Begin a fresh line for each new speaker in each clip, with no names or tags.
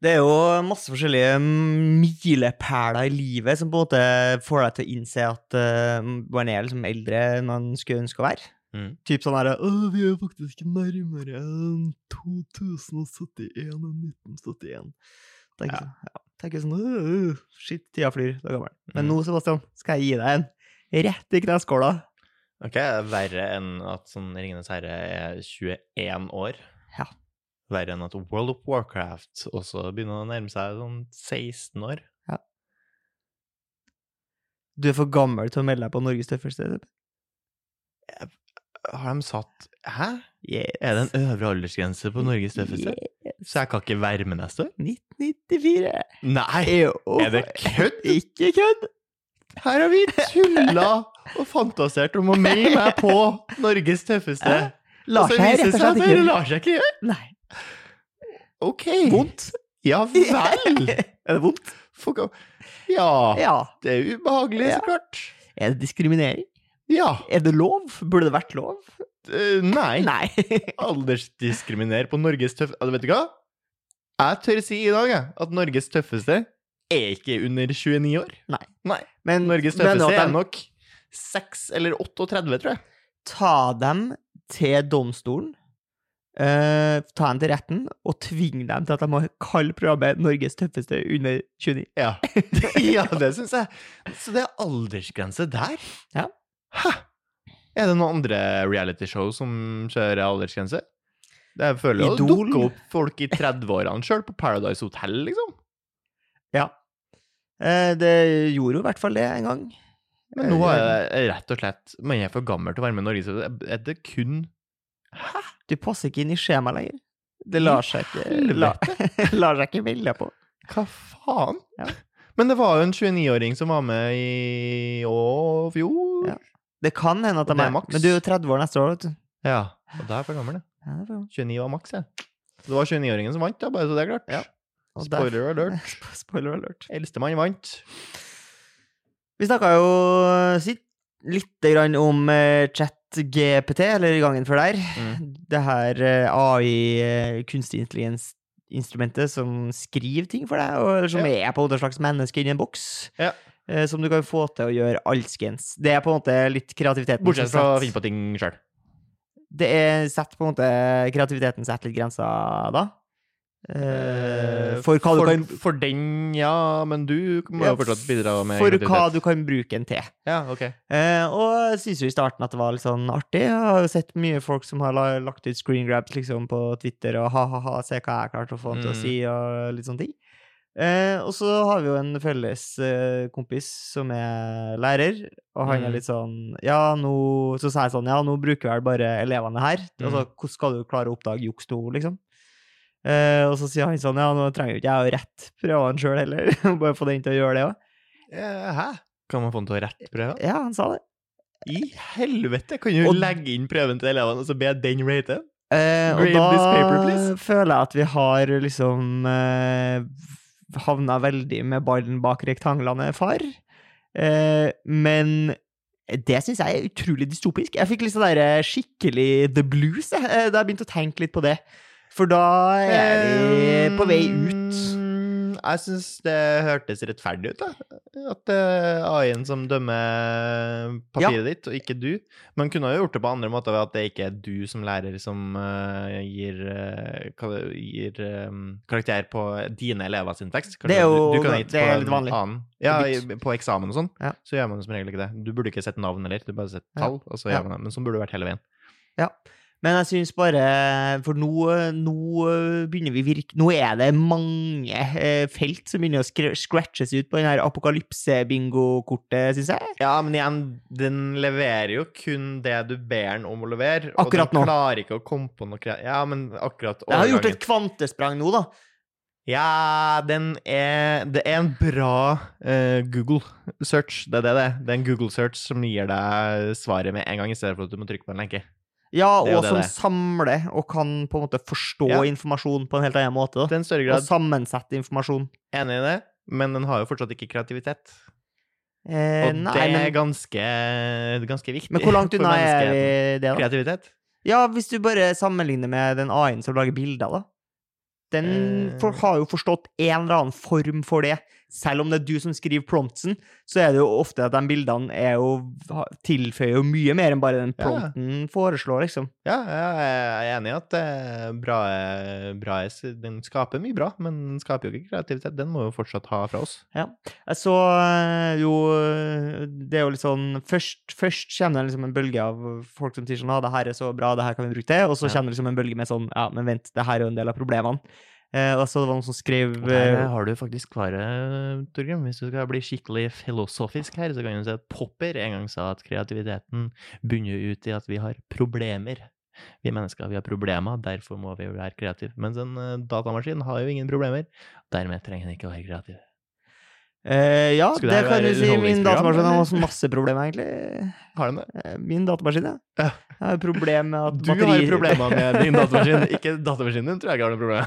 Det er jo masse forskjellige milepæler i livet som på en måte får deg til å innse at eh, man er liksom eldre enn man skulle ønske å være.
Mm.
Typ sånn her «Åh,
vi er faktisk nærmere enn 2071 enn 1971.
tenker sånn, ja, tenker sånn «Åh, Shit, tida flyr, du er gammel. Men
Mm.
nå, Sebastian, skal jeg gi deg en rett i kneskåla.
Ok, Verre enn at sånn Ringenes herre er 21 år.
Ja.
Verre enn at World of Warcraft også begynner å nærme seg sånn 16 år.
Du er for gammel til å melde deg på Norges tøffeste.
Har de satt Hæ?
Yes.
Er det en øvre aldersgrense på Norges tøffeste? Så jeg kan ikke være med neste år?
1994.
Nei!
Jo.
Er det kødd?
Ikke kødd!
Her har vi tulla og fantasert om å melde meg på Norges tøffeste.
Lar
Og så
seg
viser
rett
det
og
seg at
slett
det
ikke
lar seg ikke gjøre.
Nei.
Ok.
Vondt?
Ja vel.
Er det vondt?
Fuck off. Ja,
Ja.
det er ubehagelig, så klart.
Er det diskriminering?
Ja.
Er det lov? Burde det vært lov?
eh, nei.
Nei.
Aldersdiskriminer på Norges tøffeste Vet du hva? Jeg tør si i dag jeg, at Norges tøffeste er ikke under 29 år.
Men,
Norges
men
tøffeste
at
er
de
nok 6 eller 38, tror jeg.
ta dem til domstolen, eh, ta dem til retten, og tving dem til at de må kalle programmet Norges tøffeste under 29.
Ja, ja det syns jeg. Så det er aldersgrense der?
Ja.
Hæ? Er det noen andre realityshow som kjører aldersgrense? Det jeg føler jo det
Idol.
dukker opp folk i 30-årene sjøl, på Paradise Hotel, liksom.
Eh, det gjorde jo i hvert fall det en gang.
Men nå er
Eh,
det rett og slett Man er for gammel til å være med i Norges Tøffeste. Er det kun
Du passer ikke inn i skjemaet lenger. Det lar seg ikke, la,
Helvete!
lar seg ikke melde på.
Hva faen?
Ja.
Men det var jo en 29-åring som var med i å, fjor.
Ja. Det kan hende at de
Og det er
er
maks.
Men du er jo 30 år neste år, vet du.
Ja, Og da er jeg for gammel, det.
Ja, det er bra.
29 var maks, jeg. Så det var 29-åringen som vant, da, bare så det er klart.
Ja. Og der-
Spoiler alert.
Spoiler alert.
Eldstemann vant.
Vi snakka jo sitt litt grann om eh, ChatGPT, eller i gangen før der.
Mm.
Det her eh, AI, eh, kunstig intelligens-instrumentet som skriver ting for deg, og, eller som er på en måte et slags menneske inni en boks.
Ja.
eh, Som du kan få til å gjøre alskens. Det er på en måte litt kreativiteten
Bortsett fra å
setter-
finne på ting sjøl.
Det er sett på en måte kreativiteten setter litt grenser da. Eh, for hva du
for,
kan
for den, ja, men du må
Ja,
jo fortsatt bidra med
For hva
kreativitet.
du kan bruke den til.
Ja, ok.
Eh, og jeg synes jo i starten at det var litt sånn artig. Jeg har jo sett mye folk som har la- lagt ut screen grabs liksom på Twitter og ha-ha-ha, se hva jeg klarte å få han til å
Mm.
si, og litt sånne ting. Eh, og så har vi jo en felles eh, kompis som er lærer, og han
Mm.
er litt sånn Ja, nå Så sa jeg sånn Ja, nå bruker vel bare elevene her.
Mm.
Altså, hvordan skal du klare å oppdage juks nå, liksom? Eh, og så sier han sånn Ja, nå trenger jo ikke jeg å rette prøvene sjøl heller. bare få den til å gjøre det òg.
Eh, Hæ? Kan man få den til å rette prøven?
Ja, han sa det.
I helvete! Kan du
Og-
legge inn prøven til elevene og så be den rate den?
Eh, og
Grade
da
this paper, please.
føler jeg at vi har liksom eh, havna veldig med ballen bak rektanglene, far. Eh, men det syns jeg er utrolig dystopisk. Jeg fikk litt sånn der skikkelig the blues jeg, eh, da jeg begynte å tenke litt på det. For da er vi
Ehm.
på vei ut.
Mm, Jeg syns det hørtes rettferdig ut, da. At det er AI-en som dømmer papiret ditt, og ikke du. Man kunne jo gjort det på andre måter, ved at det ikke er du som lærer som eh, gir, eh, hva det- gir eh, karakter på dine elever sin tekst.
Det er jo-
du, du kan ha gitt
det er
på en
litt vanlig.
Annen. Ja,
Litt.
i- på eksamen og sånn,
Ja.
så gjør man som regel ikke det. Du burde ikke sett navn heller, du bare sett
Ja.
tall, og så
Ja.
gjør man det. Men sånn burde det vært hele veien.
Men jeg syns bare For nå, nå begynner vi virke Nå er det mange eh, felt som begynner å skr- scratches ut på den her apokalypse-bingo-kortet, syns jeg.
Ja, men igjen, den leverer jo kun det du ber den om å levere.
Akkurat
og den
nå.
klarer ikke å komme på noe kre- Ja, men akkurat
Jeg har gjort
overgangen.
et kvantesprang nå, da.
Ja, den er Det er en bra eh, Google search. Det er det det er. Det er en Google search som gir deg svaret med en gang, i stedet for at du må trykke på en lenke.
Ja,
Det er jo
og
det
som
det er.
samler og kan på en måte forstå
Ja.
informasjon på en helt annen måte. Da.
Til en
Og
større grad
sammensette informasjon.
enig i det, men den har jo fortsatt ikke kreativitet.
Eh,
Og
nei,
det er
men,
ganske, ganske viktig.
men hvor langt
for
unna er vi det,
menneskeheten.
da?
Kreativitet?
Ja, hvis du bare sammenligner med den A-en som lager bilder, da. Den
Eh.
for, har jo forstått en eller annen form for det. Selv om det er du som skriver prompten, så er det jo ofte at de bildene er jo, ha- tilføyer jo mye mer enn bare den
Ja.
prompten foreslår, liksom.
Ja, jeg er enig i at eh, bra, bra den skaper mye bra, men den skaper jo ikke kreativitet. Den må jo fortsatt ha fra oss.
Jeg så eh, jo eh, Det er jo litt sånn Først, først kommer det liksom en bølge av folk som sier sånn ah, det her er så bra, det her kan vi bruke til. Og så
Ja.
kommer det liksom en bølge med sånn Ja, men vent, det her er jo en del av problemene. Eh, og så var det noen som skrev
Og Der eh, har du faktisk svaret, eh, Torgrim. Hvis du skal bli skikkelig filosofisk her, så kan du si at Popper en gang sa at kreativiteten bunner ut i at vi har problemer. Vi mennesker vi har problemer, derfor må vi jo være kreative. Mens en eh, datamaskin har jo ingen problemer. Dermed trenger den ikke å være kreativ.
eh, Ja,
Skulle
det
det her
kan
være
du si. Min
underholdningsprogram,
datamaskin har
eller?
også masse problemer, egentlig.
Har den det?
Eh, Min datamaskin, ja.
Ja.
Jeg har jo problem med at
Du har jo problemer med din datamaskin. Ikke datamaskinen din, tror jeg ikke har noe problem.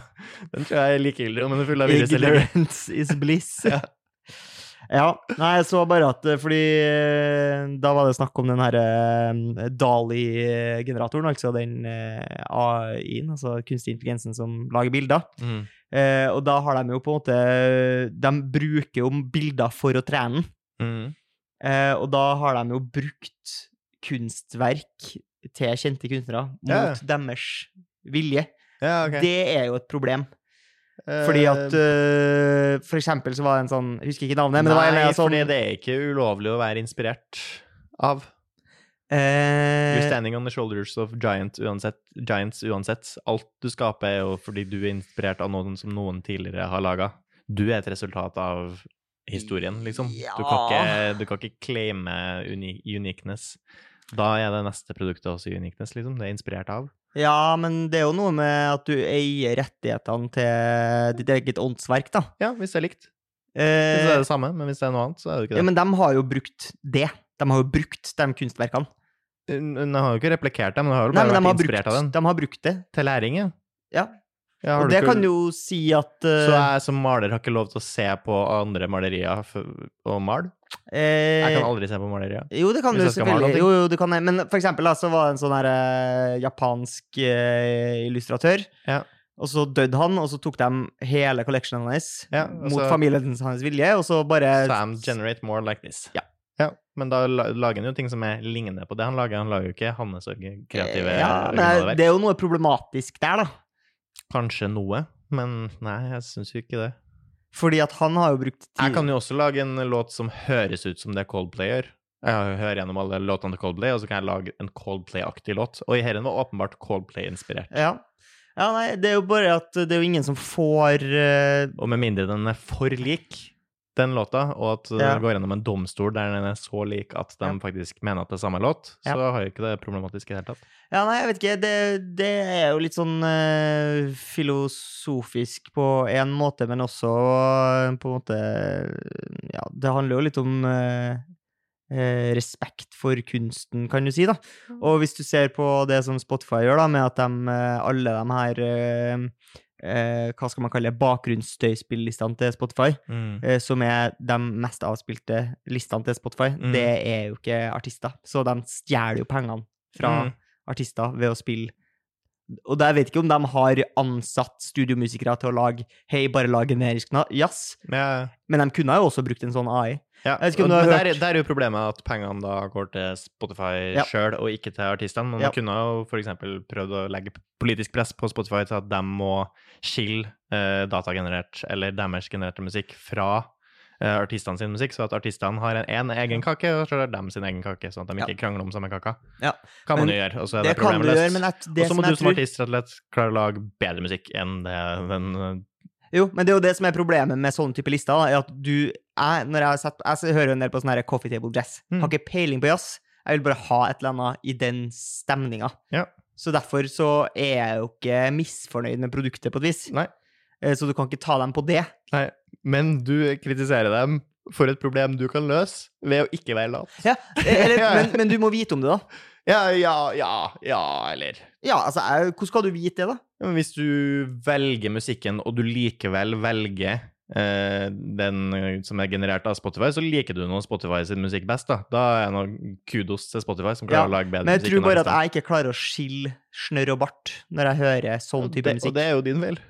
Den tror jeg er likegyldig om den er full av virus eller
Ignorance is bliss. ja. Nei, jeg så bare at eh, Fordi eh, da var det snakk om den herre Dali-generatoren, altså den eh, AI-en, altså kunstig intelligensen som lager bilder.
Mm.
Eh, og da har de jo på en måte De bruker jo bilder for å trene den.
Mm.
Eh, og da har de jo brukt kunstverk til kjente kunstnere mot
Ja.
deres vilje.
Ja, ok. Eh,
Det er jo et problem. Fordi
Ehm.
at øh, For eksempel så var det en sånn Jeg husker ikke navnet, men det var en eller
Nei,
annen sånn
fordi det er ikke ulovlig å være inspirert av. You're
eh,
standing on the shoulders of giant uansett, giants uansett. Alt du skaper, er jo fordi du er inspirert av noen som noen tidligere har laga. Du er et resultat av historien, liksom. Du, kan ikke, du kan ikke claime uni uniqueness. Da er det neste produktet også uniqueness, liksom. Det er inspirert av.
Ja, men det er jo noe med at du eier rettighetene til ditt eget åndsverk, da.
Ja, hvis det er likt. Hvis det
Eh,
er det samme, men hvis det er noe annet, så er det ikke
ja,
det.
men de har jo brukt det. De har jo brukt de kunstverkene.
Den har jo ikke replikert dem, men den har jo
Nei,
bare
men de har,
vært
brukt,
inspirert av den.
de har brukt det.
Til læring, ja.
Ja.
ja har
Og
du
det
ikke-
kan jo si at eh,
Så jeg som maler har ikke lov til å se på andre malerier f- og male? Jeg kan
eh,
aldri se på malerier.
Jo, det kan
Hvis
du
jeg skal
selvfølgelig.
male noe.
Jo, jo, du kan, det. men for eksempel da, så var det en sånn her, eh, japansk eh, illustratør.
Ja.
Og så døde han, og så tok de hele collectionen hans
Ja, altså- og
mot
så-
familien hans vilje, og så bare
Sam generate more like this.
eh, Ja.
Men da la- lager han jo ting som er lignende på det han lager. Han lager jo ikke hans orgi- kreative
Eh, Ja, men
originale verk.
det er jo noe problematisk der, da.
Kanskje noe, men nei, jeg syns jo ikke det.
Fordi at han har jo brukt tid
Jeg kan jo også lage en låt som høres ut som det Coldplay gjør. Jeg hører gjennom alle låtene til Coldplay, og så kan jeg lage en Coldplay-aktig låt. Og i herren var åpenbart Coldplay-inspirert.
ja. ja, nei, det er jo bare at det er jo ingen som får eh,
Og med mindre den er for lik den låta, og at det
Ja.
går gjennom en domstol der den er så lik at de
Ja.
faktisk mener at det er samme låt,
Ja.
så har jo ikke det problematisk i det hele tatt.
Ja, nei, jeg vet ikke. Det, det er jo litt sånn eh, filosofisk på en måte, men også eh, på en måte eh, Ja, det handler jo litt om eh, eh, respekt for kunsten, kan du si, da.
Mm.
Og hvis du ser på det som Spotify gjør, da, med at de, eh, alle de her eh, eh, Hva skal man kalle bakgrunnsstøyspillistene til Spotify,
Mm.
eh, som er de mest avspilte listene til Spotify,
Mm.
det er jo ikke artister. Så de stjeler jo pengene fra
Mm.
artister ved å spille. Og der vet jeg ikke om de har ansatt studiomusikere til å lage Hei, bare lag generisk na- jazz.
ja.
Men de kunne jo også brukt en sånn AI.
Ja.
Jeg vet ikke om
og-
du har
men
hørt-
der, der er jo problemet at pengene da går til Spotify
Ja.
sjøl, og ikke til artistene. Men
Ja.
man kunne jo f.eks. prøvd å legge politisk press på Spotify til at de må skille eh, datagenerert eller deres genererte musikk fra eh, artistene sin musikk, så at artistene har en, en egen kake, og så har de sin egen kake, sånn at de ikke krangler om samme kaka.
Ja.
Kan man
Men
jo gjøre, og så
Det,
er det,
kan du
problemløst.
gjøre, men jeg, det
og så må
som
du
jeg
som
tror
artist rett og slett klare å lage bedre musikk enn det den eh,
Jo, men det er jo det som er problemet med sånne type lister, da, er at du jeg, når jeg, har sett, jeg hører jo en del på sånn her coffee table jazz.
Mm.
Har ikke peiling på jazz. Jeg vil bare ha et eller annet i den stemninga.
Ja.
Så derfor så er jeg jo ikke misfornøyd med produktet, på et vis.
Nei.
Eh, Så du kan ikke ta dem på det.
Men du kritiserer dem for et problem du kan løse ved å ikke være lat.
Ja, eller, men, men du må vite om det, da.
Ja, ja, ja, ja, eller
Ja, altså, jeg, hvordan skal du vite det, da?
Ja, men Hvis du velger musikken, og du likevel velger eh, den eh, som er generert av Spotify, så liker du nå Spotify sin musikk best, da. Da er det noe kudos til Spotify, som klarer
Ja,
å lage bedre
Men jeg
musikk.
tror
enn
bare at
artistene.
jeg ikke klarer å skille snørr og bart når jeg hører sånn type
det,
musikk.
Og det er jo din feil.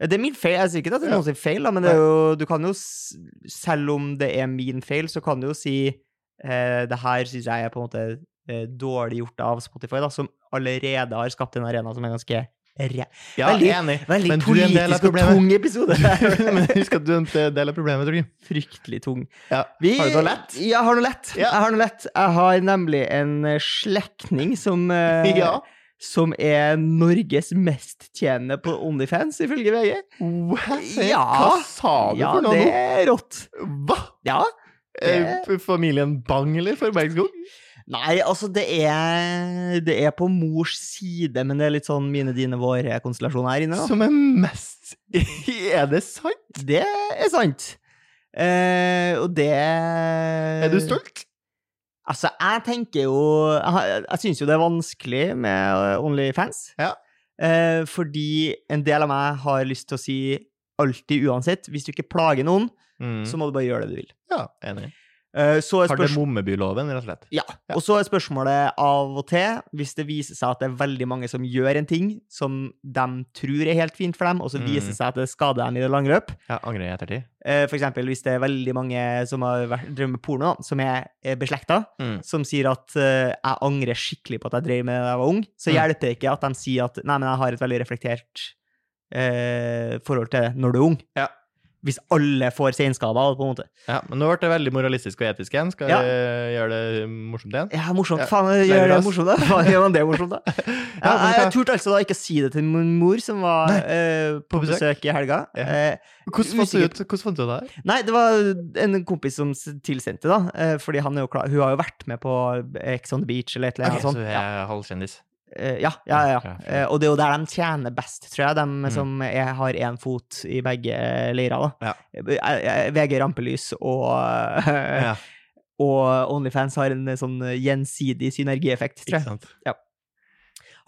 Det er min feil. Jeg sier ikke at det er
Ja.
noen sin feil, da, men det er jo, du kan jo, s- selv om det er min feil, så kan du jo si eh, det her syns jeg er på en måte eh, dårlig gjort av Spotify, da, som allerede har skapt en arena som er ganske re
Ja,
Veldig-
enig.
Veldig
Men du er en del av
politisk og
problemet.
tung episode.
Men husk at du er en del av problemet, Torgrim.
Fryktelig tung.
Ja.
Vi-
Har du noe lett?
Ja, har du noe lett?
Ja.
Jeg har noe lett. Jeg har nemlig en eh, slektning som eh,
Ja.
som er Norges mesttjenende på Onlyfans, ifølge VG. Ja.
Hva sa du
Ja,
for noe
det
nå?
er rått.
Hva?
Ja.
Eh, f- Familien Bang eller Forbergskog?
Nei, altså, det er, det er på mors side, men det er litt sånn mine, dine, våre-konstellasjon her inne. Da.
Som er mest Er det sant?
Det er sant. Eh, og det
Er du stolt?
Altså, jeg tenker jo Jeg, har- jeg syns jo det er vanskelig med eh, Onlyfans.
Ja.
Eh, fordi en del av meg har lyst til å si alltid uansett, hvis du ikke plager noen,
Mm.
så må du bare gjøre det du vil.
Ja, enig.
Eh, så er
Har det
spørs-
Mommebyloven, rett og slett?
Ja.
Ja.
Og så er spørsmålet av og til, hvis det viser seg at det er veldig mange som gjør en ting som de tror er helt fint for dem, og så
Mm.
viser det seg at det skader dem i det lange løp.
Ja, Angrer jeg i ettertid?
Eh, For eksempel hvis det er veldig mange som har vært- drevet med porno, da, som er er beslekta,
Mm.
som sier at eh, 'jeg angrer skikkelig på at jeg drev med det da jeg var ung', så
Mm.
hjelper det ikke at de sier at 'nei, men jeg har et veldig reflektert eh, forhold til det når du er ung'.
Ja.
Hvis alle får senskader, på en måte.
Ja, men nå ble det veldig moralistisk og etisk igjen. Skal
Ja.
jeg gjøre det morsomt igjen?
Ja, morsomt.
Ja.
Faen,
Nei, altså-
gjør det
ass.
morsomt, da? Faen, gjør man det morsomt, da?
Ja, men
jeg, jeg
hva-
turte altså da ikke å si det til min mor, som var
Nei,
eh, på,
på besøk.
besøk. i helga.
Ja.
Eh,
Hvordan fant du ut- hvordan fant du det her?
nei, det var en kompis som s- tilsendte, da. eh, fordi han er jo klar, hun har jo vært med på Ex on the Beach eller et eller annet
Ok, så
sånt.
jeg
Ja.
er sånn- halvkjendis.
Eh, ja, ja, ja.
Ja, Mm.
ja.
fint.
Eh, og det er jo der de tjener best, tror jeg, de som er, har én fot i begge leirer. da. Eh, eh, VG Rampelys og, eh,
Ja,
og Onlyfans har en eh, sånn gjensidig synergieffekt, tror
ikke
jeg.
sant.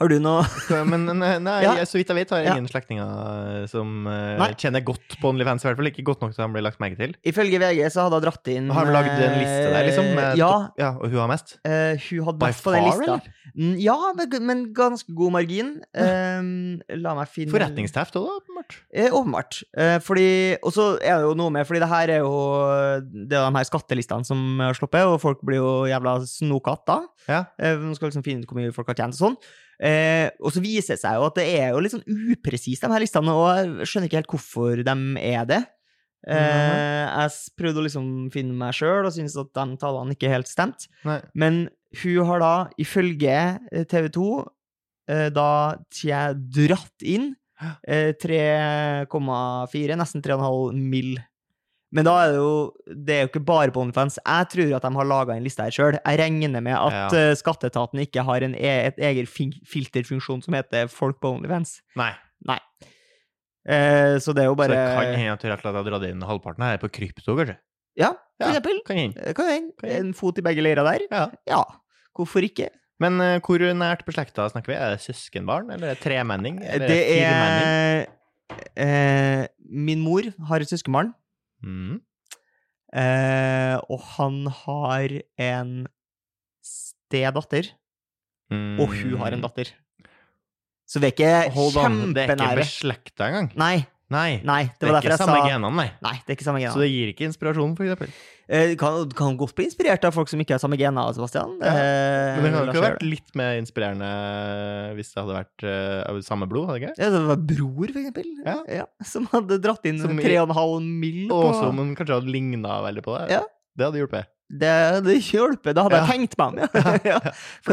Har du noe
Så, Men nei, nei,
Ja.
jeg- så vidt jeg vet, har jeg
Ja.
ingen slektninger som eh,
Nei.
kjenner godt på OnlyFans. I hvert fall ikke godt nok til at han blir lagt merke til.
Ifølge VG så hadde hun dratt inn
Har de lagd en
eh,
liste der, liksom? med
Ja.
topp- ja og hun har mest?
eh, hun hadde
By
vært på den
far,
lista. Mm, Ja, men, g- men ganske god margin. Eh, la meg finne
Forretningsteft òg, da, åpenbart.
Eh, åpenbart. Eh, fordi, og så er det jo noe med Fordi det her er jo Det er de her skattelistene som har sluppet, og folk blir jo jævla snokete da.
Ja.
Eh, man skal liksom finne ut hvor mye folk har tjent og sånn. Eh, og så viser det seg jo at det er jo litt sånn upresist, de her listene, og jeg skjønner ikke helt hvorfor de er det. Eh,
Mhm.
jeg s- prøvde å liksom finne meg sjøl, og syntes at de tallene ikke helt stemte.
Nei.
Men hun har da, ifølge eh, TV 2, Eh, da tje- dratt inn eh, 3,4, nesten 3,5 mill. Men da er det jo det er jo ikke bare på OnlyFans. Jeg tror at de har laga en liste her sjøl. Jeg regner med at
Ja.
eh, skatteetaten ikke har en e et egen fin- filterfunksjon som heter folk på OnlyFans.
Nei.
Eh, så det er jo
Så
bare
det kan hende at jeg rett og slett har dratt inn halvparten her på krypto, kanskje.
Ja, for
Ja.
eksempel.
Kan hende.
Eh, Kan
Kan
hende.
hende.
En fot i begge leirer der.
Ja.
Ja, hvorfor ikke?
Men eh, hvor nært beslekta snakker vi? Er det søskenbarn, eller er det tremenning? Eller
Eh, Det er
firemenning?
eh, Min mor har et søskenbarn,
Mm.
eh, og han har en stedatter,
Mm.
og hun har en datter. Så vi er ikke
Hold on, det er ikke
kjempenære.
beslekta engang.
Nei,
Nei.
nei, det
det,
var derfor
er ikke
jeg
samme
sa
genene, nei.
Nei, det er ikke samme
Så
gener.
det gir ikke inspirasjon, for eksempel.
Eh, kan, kan godt bli inspirert av folk som ikke har samme gener, Sebastian.
Ja,
Eh,
Men det hadde
la oss
ikke
gjøre
vært litt mer inspirerende hvis det hadde vært eh, av samme blod, hadde det ikke?
Ja, det var bror, for eksempel,
Ja.
som hadde dratt inn
Som i-
3,5 mill. på
Og også om hun kanskje hadde ligna veldig på det.
Ja.
Det hadde hjulpet.
Det, det hjelper. Da hadde jeg tenkt meg om, ja. ja.
For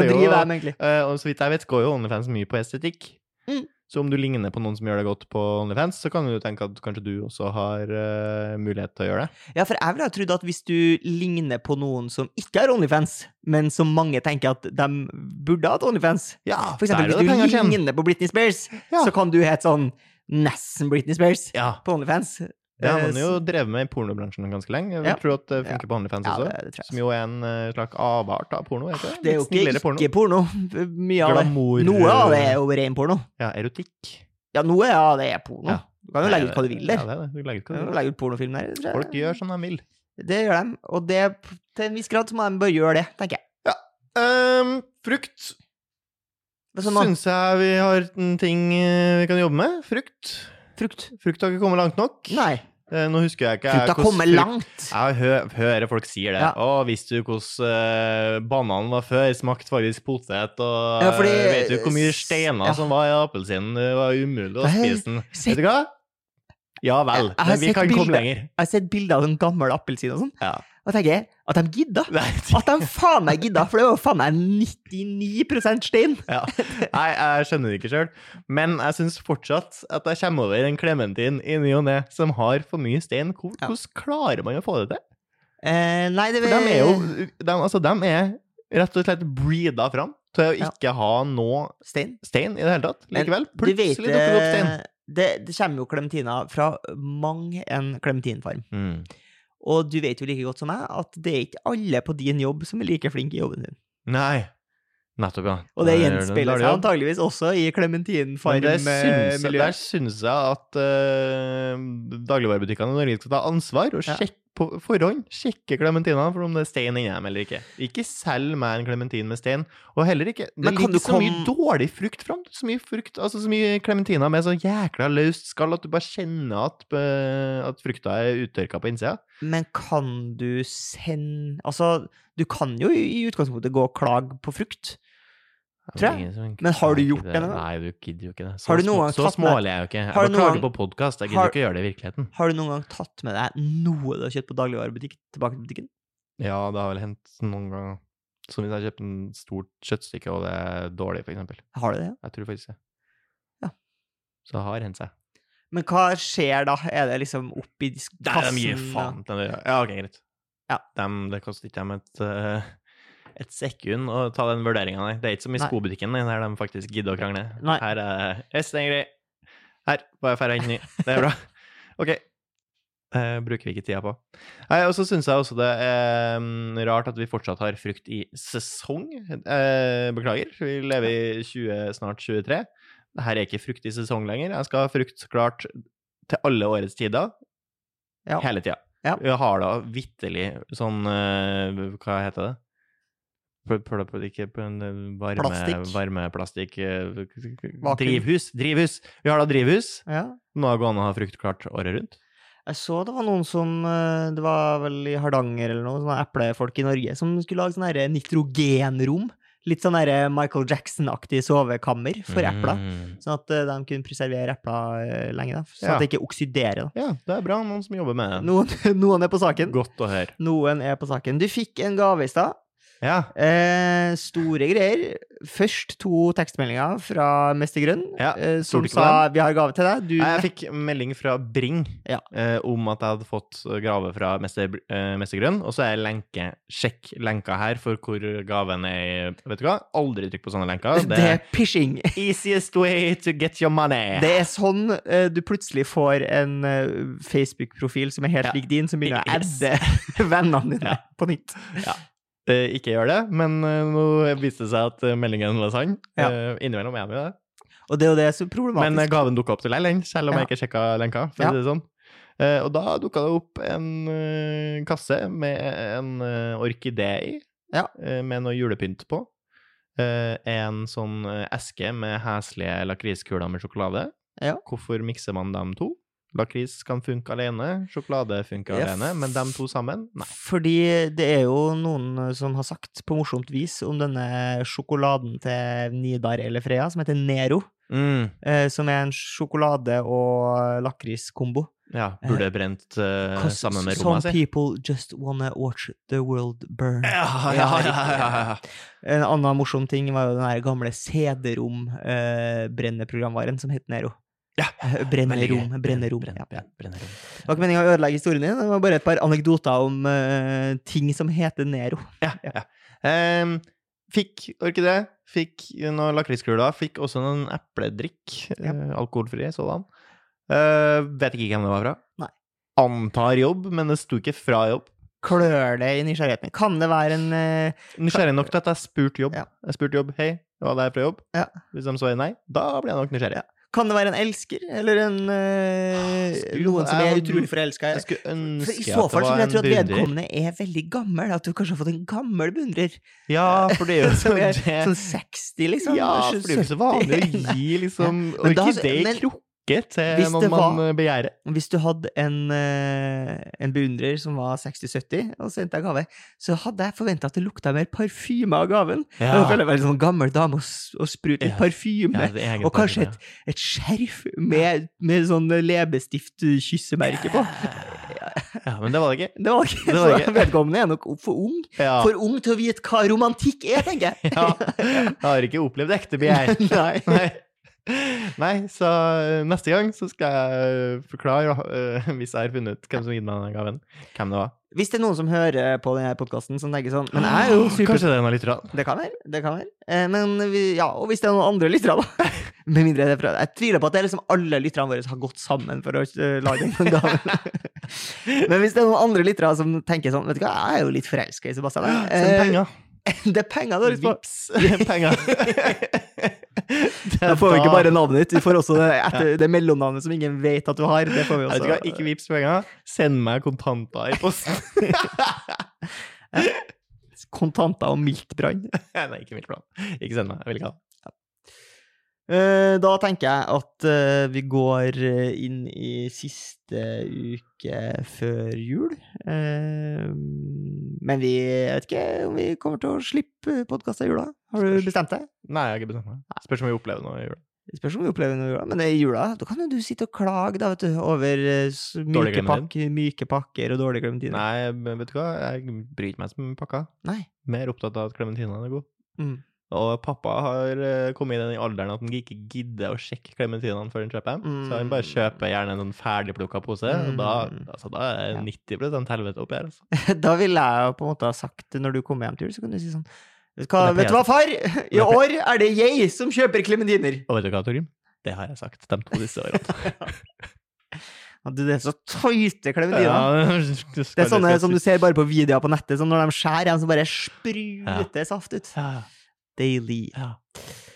Hva
det er jo-
driver jeg med, egentlig?
Eh, og så vidt jeg vet, går jo OnlyFans mye på estetikk.
Mm.
Så om du ligner på noen som gjør det godt på OnlyFans, så kan du jo tenke at kanskje du også har eh, mulighet til å gjøre det.
Ja, for jeg ville ha trodd at hvis du ligner på noen som ikke har Onlyfans, men som mange tenker at de burde hatt Onlyfans
Ja,
For eksempel, hvis du ligner på Britney Spears,
Ja.
så kan du hete sånn nesten Britney Spears
Ja,
på Onlyfans.
det har
Eh,
man jo
så-
drevet med i pornobransjen ganske lenge. Jeg vil
Ja.
tro at det funker på OnlyFans
ja,
også.
det, det tror
Som
jeg.
jo er en eh, slags avart av porno. Er det, ikke?
Det er jo
Litt snillere
ikke ikke porno. Mye av det.
Glamour
Noe av
eh,
det er jo ren porno.
Ja, erotikk.
Ja, noe av det er porno.
Ja.
Du kan jo legge ut hva du vil der.
Ja, det er det. Du legger ut
Du kan
hva du
jo
vil.
legge ut pornofilm der. tror jeg.
Folk gjør som de vil.
Det gjør de, og det, til en viss grad så må de bare gjøre det, tenker jeg.
Ehm, frukt
Det er sånn, man-
syns jeg vi har en ting eh, vi kan jobbe med. Frukt.
Frukt.
Frukt har ikke kommet langt nok.
Nei.
Eh, Nå husker jeg ikke jeg
Frukt har
hvordan
kommet
frukt-
langt.
Jeg hø hører folk sier det.
Ja.
Å, visste du hvordan eh, bananen var før? Smakte faktisk potet, og
Ja, fordi-
eh, vet du hvor mye steiner
Ja.
som var i appelsinen? Det var umulig å
Nei,
spise den.
sett-
Vet du hva? Ja vel,
Jeg- jeg har
men vi
sett
kan komme
bilder.
lenger.
Jeg har sett bilder av en gammel appelsin og sånn,
Ja.
og tenker jeg at de gidda. At de faen meg gidda, for det var jo faen meg 99 stein.
Ja. Nei, jeg skjønner det ikke sjøl. Men jeg syns fortsatt at jeg kommer over en klementin i ny og ne som har for mye stein. Hvor-
Ja.
Hvordan klarer man å få det til?
Eh, nei, det
For de er jo
Eh.
de, altså, de er rett og slett breeda fram til å
Ja.
ikke ha noe
Stein.
stein i det hele tatt.
Men
Likevel,
Du vet,
plutselig dukker det opp stein.
eh, det, det kommer jo klementiner fra mang en klementinfarm.
Mm.
Og du vet jo like godt som meg at det er ikke alle på din jobb som er like flink i jobben din.
Nei. Nettopp, ja.
Og det
Der gjør du en
gjenspeiler
dårlig
seg
jobb.
antageligvis også i eh,
Men det syns jeg- Der
klementinfarm-miljøet.
syns jeg at eh, dagligvarebutikkene i Norge skal ta ansvar og
Ja.
sjekke på forhånd. Sjekke klementinene for om det er stein inni dem eller ikke. Ikke selg meg en klementin med stein. Og heller ikke Det
Men kan
ligger
du
så mye
komme-
dårlig frukt fram. Så mye frukt, altså så mye klementiner med så jækla løst skall at du bare kjenner at, eh, at frukta er uttørka på innsida.
Men kan du sende Altså, du kan jo i utgangspunktet gå og klage på frukt. Tror jeg. Men har du gjort det nå?
Nei, du gidder jo ikke det. Så,
Har du noen
små-
gang
så
tatt med-
smålig er jeg jo ikke. Jeg
Har du
bare
noen
klager på
gang-
podkast. Jeg gidder
Har-
ikke gjøre det i virkeligheten.
Har du noen gang tatt med deg noe du har kjøpt på dagligvarebutikk tilbake til butikken?
Ja, det har vel hendt noen ganger. Som hvis jeg kjøper en stort kjøttstykke, og det er dårlig, for eksempel.
Har du det? ja?
Jeg tror faktisk det.
Ja.
Så det har hendt seg.
Men hva skjer da? Er det liksom opp i disk- kassen? da?
til det. Ja, ok, greit.
Ja.
Dem- det koster ikke dem et, eh, et sekund å ta den vurderingen der. Det er ikke som i
Nei.
skobutikken nei, der de faktisk gidder å krangle.
Nei.
Her er det «Yes, det er grei. Her, bare færre inn i. Det er bra. Ok. Eh, bruker vi ikke tida på. Nei, og så syns jeg også det er mm, rart at vi fortsatt har frukt i sesong. Eh, beklager, vi lever i 20, snart 23. Her er ikke frukt i sesong lenger. Jeg skal ha frukt klart til alle årets tider.
Ja.
Hele tida.
Ja.
Jeg har da vitterlig sånn eh, Hva heter det? Pl pl pl ikke pl varme,
Plastikk.
Varmeplastikk eh,
Vakuum.
Drivhus! Drivhus! Vi har da drivhus.
Ja.
Nå går det an å ha frukt klart året rundt.
Jeg så det var noen som eh, Det var vel i Hardanger eller noe, sånne eplefolk i Norge, som skulle lage sånne her nitrogenrom. Litt sånn her Michael Jackson-aktig sovekammer for epler.
Mm.
Sånn at eh, de kunne preservere epler eh, lenge, da. Sånn
Ja.
at det ikke oksiderer, da.
Ja, det er bra. Noen som jobber med det.
Noen, noen er på saken.
Godt å høre.
Noen er på saken. Du fikk en gave i stad.
Ja.
Eh, store greier. Først to tekstmeldinger fra Mester Grønn,
Ja,
eh, som
stolte ikke på
sa 'vi har gave til deg'. Du,
Jeg fikk melding fra Bring
Ja.
eh, om at jeg hadde fått eh, gave fra Mester, Br- eh, Mester Grønn, og så er lenke, sjekk lenka her for hvor gaven er Vet du hva? Aldri trykk på sånne lenker.
det er pishing.
Easiest way to get your money.
Det er sånn eh, du plutselig får en eh, Facebook-profil som er helt
Ja.
lik din, som begynner å
Yes.
adde vennene dine
Ja.
på nytt.
Eh, ikke gjør det, men eh, nå viste det seg at eh, meldingen var sann.
Ja.
Eh, innimellom er de jo det.
Og det er jo det som er
Men eh,
problematisk.
gaven dukka opp til deg, den, selv om
Ja.
jeg ikke sjekka lenka. For
Ja.
å si det sånn. Eh, og da dukka det opp en eh, kasse med en eh, orkidé i,
Ja.
eh, med noe julepynt på. Eh, en sånn eh, eske med heslige lakriskuler med sjokolade.
Ja.
Hvorfor mikser man dem to? Lakris kan funke alene, sjokolade funker
Ja,
alene,
f-
men dem to sammen? Nei.
Fordi det er jo noen eh, som har sagt på morsomt vis om denne sjokoladen til Nidar eller Freya, som heter Nero. eh, Som er en sjokolade- og lakriskombo.
Ja, burde brent eh,
'Cause
sammen med
Some
rommet sitt.
people just wanna watch the world burn.
Ja,
En annen morsom ting var jo den her gamle CD-rom-brenneprogramvaren som het Nero.
Ja,
Eh, Brennerom. Brennerom. Ja. Det var ikke meninga å ødelegge historien din, det var bare et par anekdoter om eh, ting som heter Nero.
Ja, ja. Ehm, fikk orkidé, fikk noen lakriskruller, fikk også noen epledrikk,
Ja.
eh, alkoholfri sådan. Eh, vet ikke hvem det var fra.
Nei.
Antar jobb, men det sto ikke fra jobb.
Klør det i nysgjerrigheten? Kan det være en eh,
Nysgjerrig nok til at jeg spurte jobb.
Ja.
Jeg spurte jobb, hei, var det her fra jobb?
Ja.
Hvis de svarer nei, da ble jeg nok nysgjerrig.
Kan det være en elsker? Eller en eh,
Skulle-
Noen som
Ah, jeg-
er utrolig forelska?
Jeg skulle ønske
I så
at det
fall så vil
var en
jeg tro at
beundrer.
vedkommende er veldig gammel. At du kanskje har fått en gammel beundrer.
Ja, for det er jo
Som er
det.
sånn 60, liksom.
Ja, for det er jo ikke så vanlig å
70.
gi liksom
Men da-
orkidé i
men-
krukke. ikke til
Hvis
noen
det var-
man eh, begjærer.
Hvis du hadde en, eh, en beundrer som var 60-70 og sendte deg gave, så hadde jeg forventa at det lukta mer parfyme av gaven. Jeg føler meg som en sånn gammel dame og, s- og sprute litt
Ja.
parfyme.
det er egen
og kanskje
tanke,
Et skjerf med, med sånn leppestift-kyssemerke på.
ja. ja, Men det var det ikke.
Det var ikke,
Det var
så
ikke-
Vedkommende er nok for ung.
Ja.
For ung til å vite hva romantikk er, tenker jeg.
ja. Jeg har ikke opplevd ekte begjær.
Nei.
Nei. Nei, så eh, neste gang så skal jeg eh, forklare, eh, hvis jeg har funnet ut hvem som ga meg den gaven, hvem det var.
Hvis det er noen som hører på denne podkasten som tenker sånn Men jeg er jo super...
Ah, Kanskje det er noe litt rart.
Det kan være. det kan være. Eh, Men vi, ja, Og hvis det er noen andre lyttere, da. Med mindre det er fra Jeg tviler på at det er liksom alle lytterne våre som har gått sammen for å eh, lage en gave. Men hvis det er noen andre lyttere som tenker sånn Vet du hva, jeg er jo litt forelska i Sebastian. jeg.
Send penger.
Eh, Det er penger du har lyst på.
Vips penger. Det
Da får vi ikke
da-
bare navnet ditt, vi får også det, etter, det mellomnavnet som ingen vet at du har. Det får vi
Jeg
også.
vet ikke, hva, ikke vips penger. Send meg kontanter i posten.
Kontanter og miltbrann.
Nei, ikke mildt plan. Ikke send meg. Jeg vil ikke ha det.
Eh, Da tenker jeg at eh, vi går eh, inn i siste uke før jul. Eh, Men vi jeg vet ikke om vi kommer til å slippe podkast i jula. Har du bestemt deg?
Nei, jeg har ikke bestemt meg. Spørs om vi opplever noe i jula.
Det Spørs om vi opplever noe i jula, men i jula da kan jo du sitte og klage da, vet du, over eh, s-
Dårlig
myke,
glemt
pakke, myke pakker og dårlige klementiner.
Nei, men vet du hva? Jeg bryr ikke meg som pakka.
Nei.
Mer opptatt av at klementinene er gode.
Mm.
Og pappa har eh, kommet i den alderen at han ikke gidder å sjekke klementinene før han kjøper dem. Så han bare
Mm.
kjøper gjerne en sånn ferdigplukka pose, og da, altså, da er det 90 helvete oppi her. Altså.
Da ville jeg jo på en måte ha sagt når du kommer hjem til jul, så kan du si sånn Vet du hva,
Og det
vet
er
du hva far? I år er det jeg som kjøper klementiner!
Og vet du hva, Torgrim? Det har jeg sagt de to siste årene.
Ja, Du, det er så tøyte klementiner.
Ja,
Det er sånne som du ser bare på videoer på nettet, som når de skjærer en som bare spruter saft ut.
Ja,
Deilig.
ja.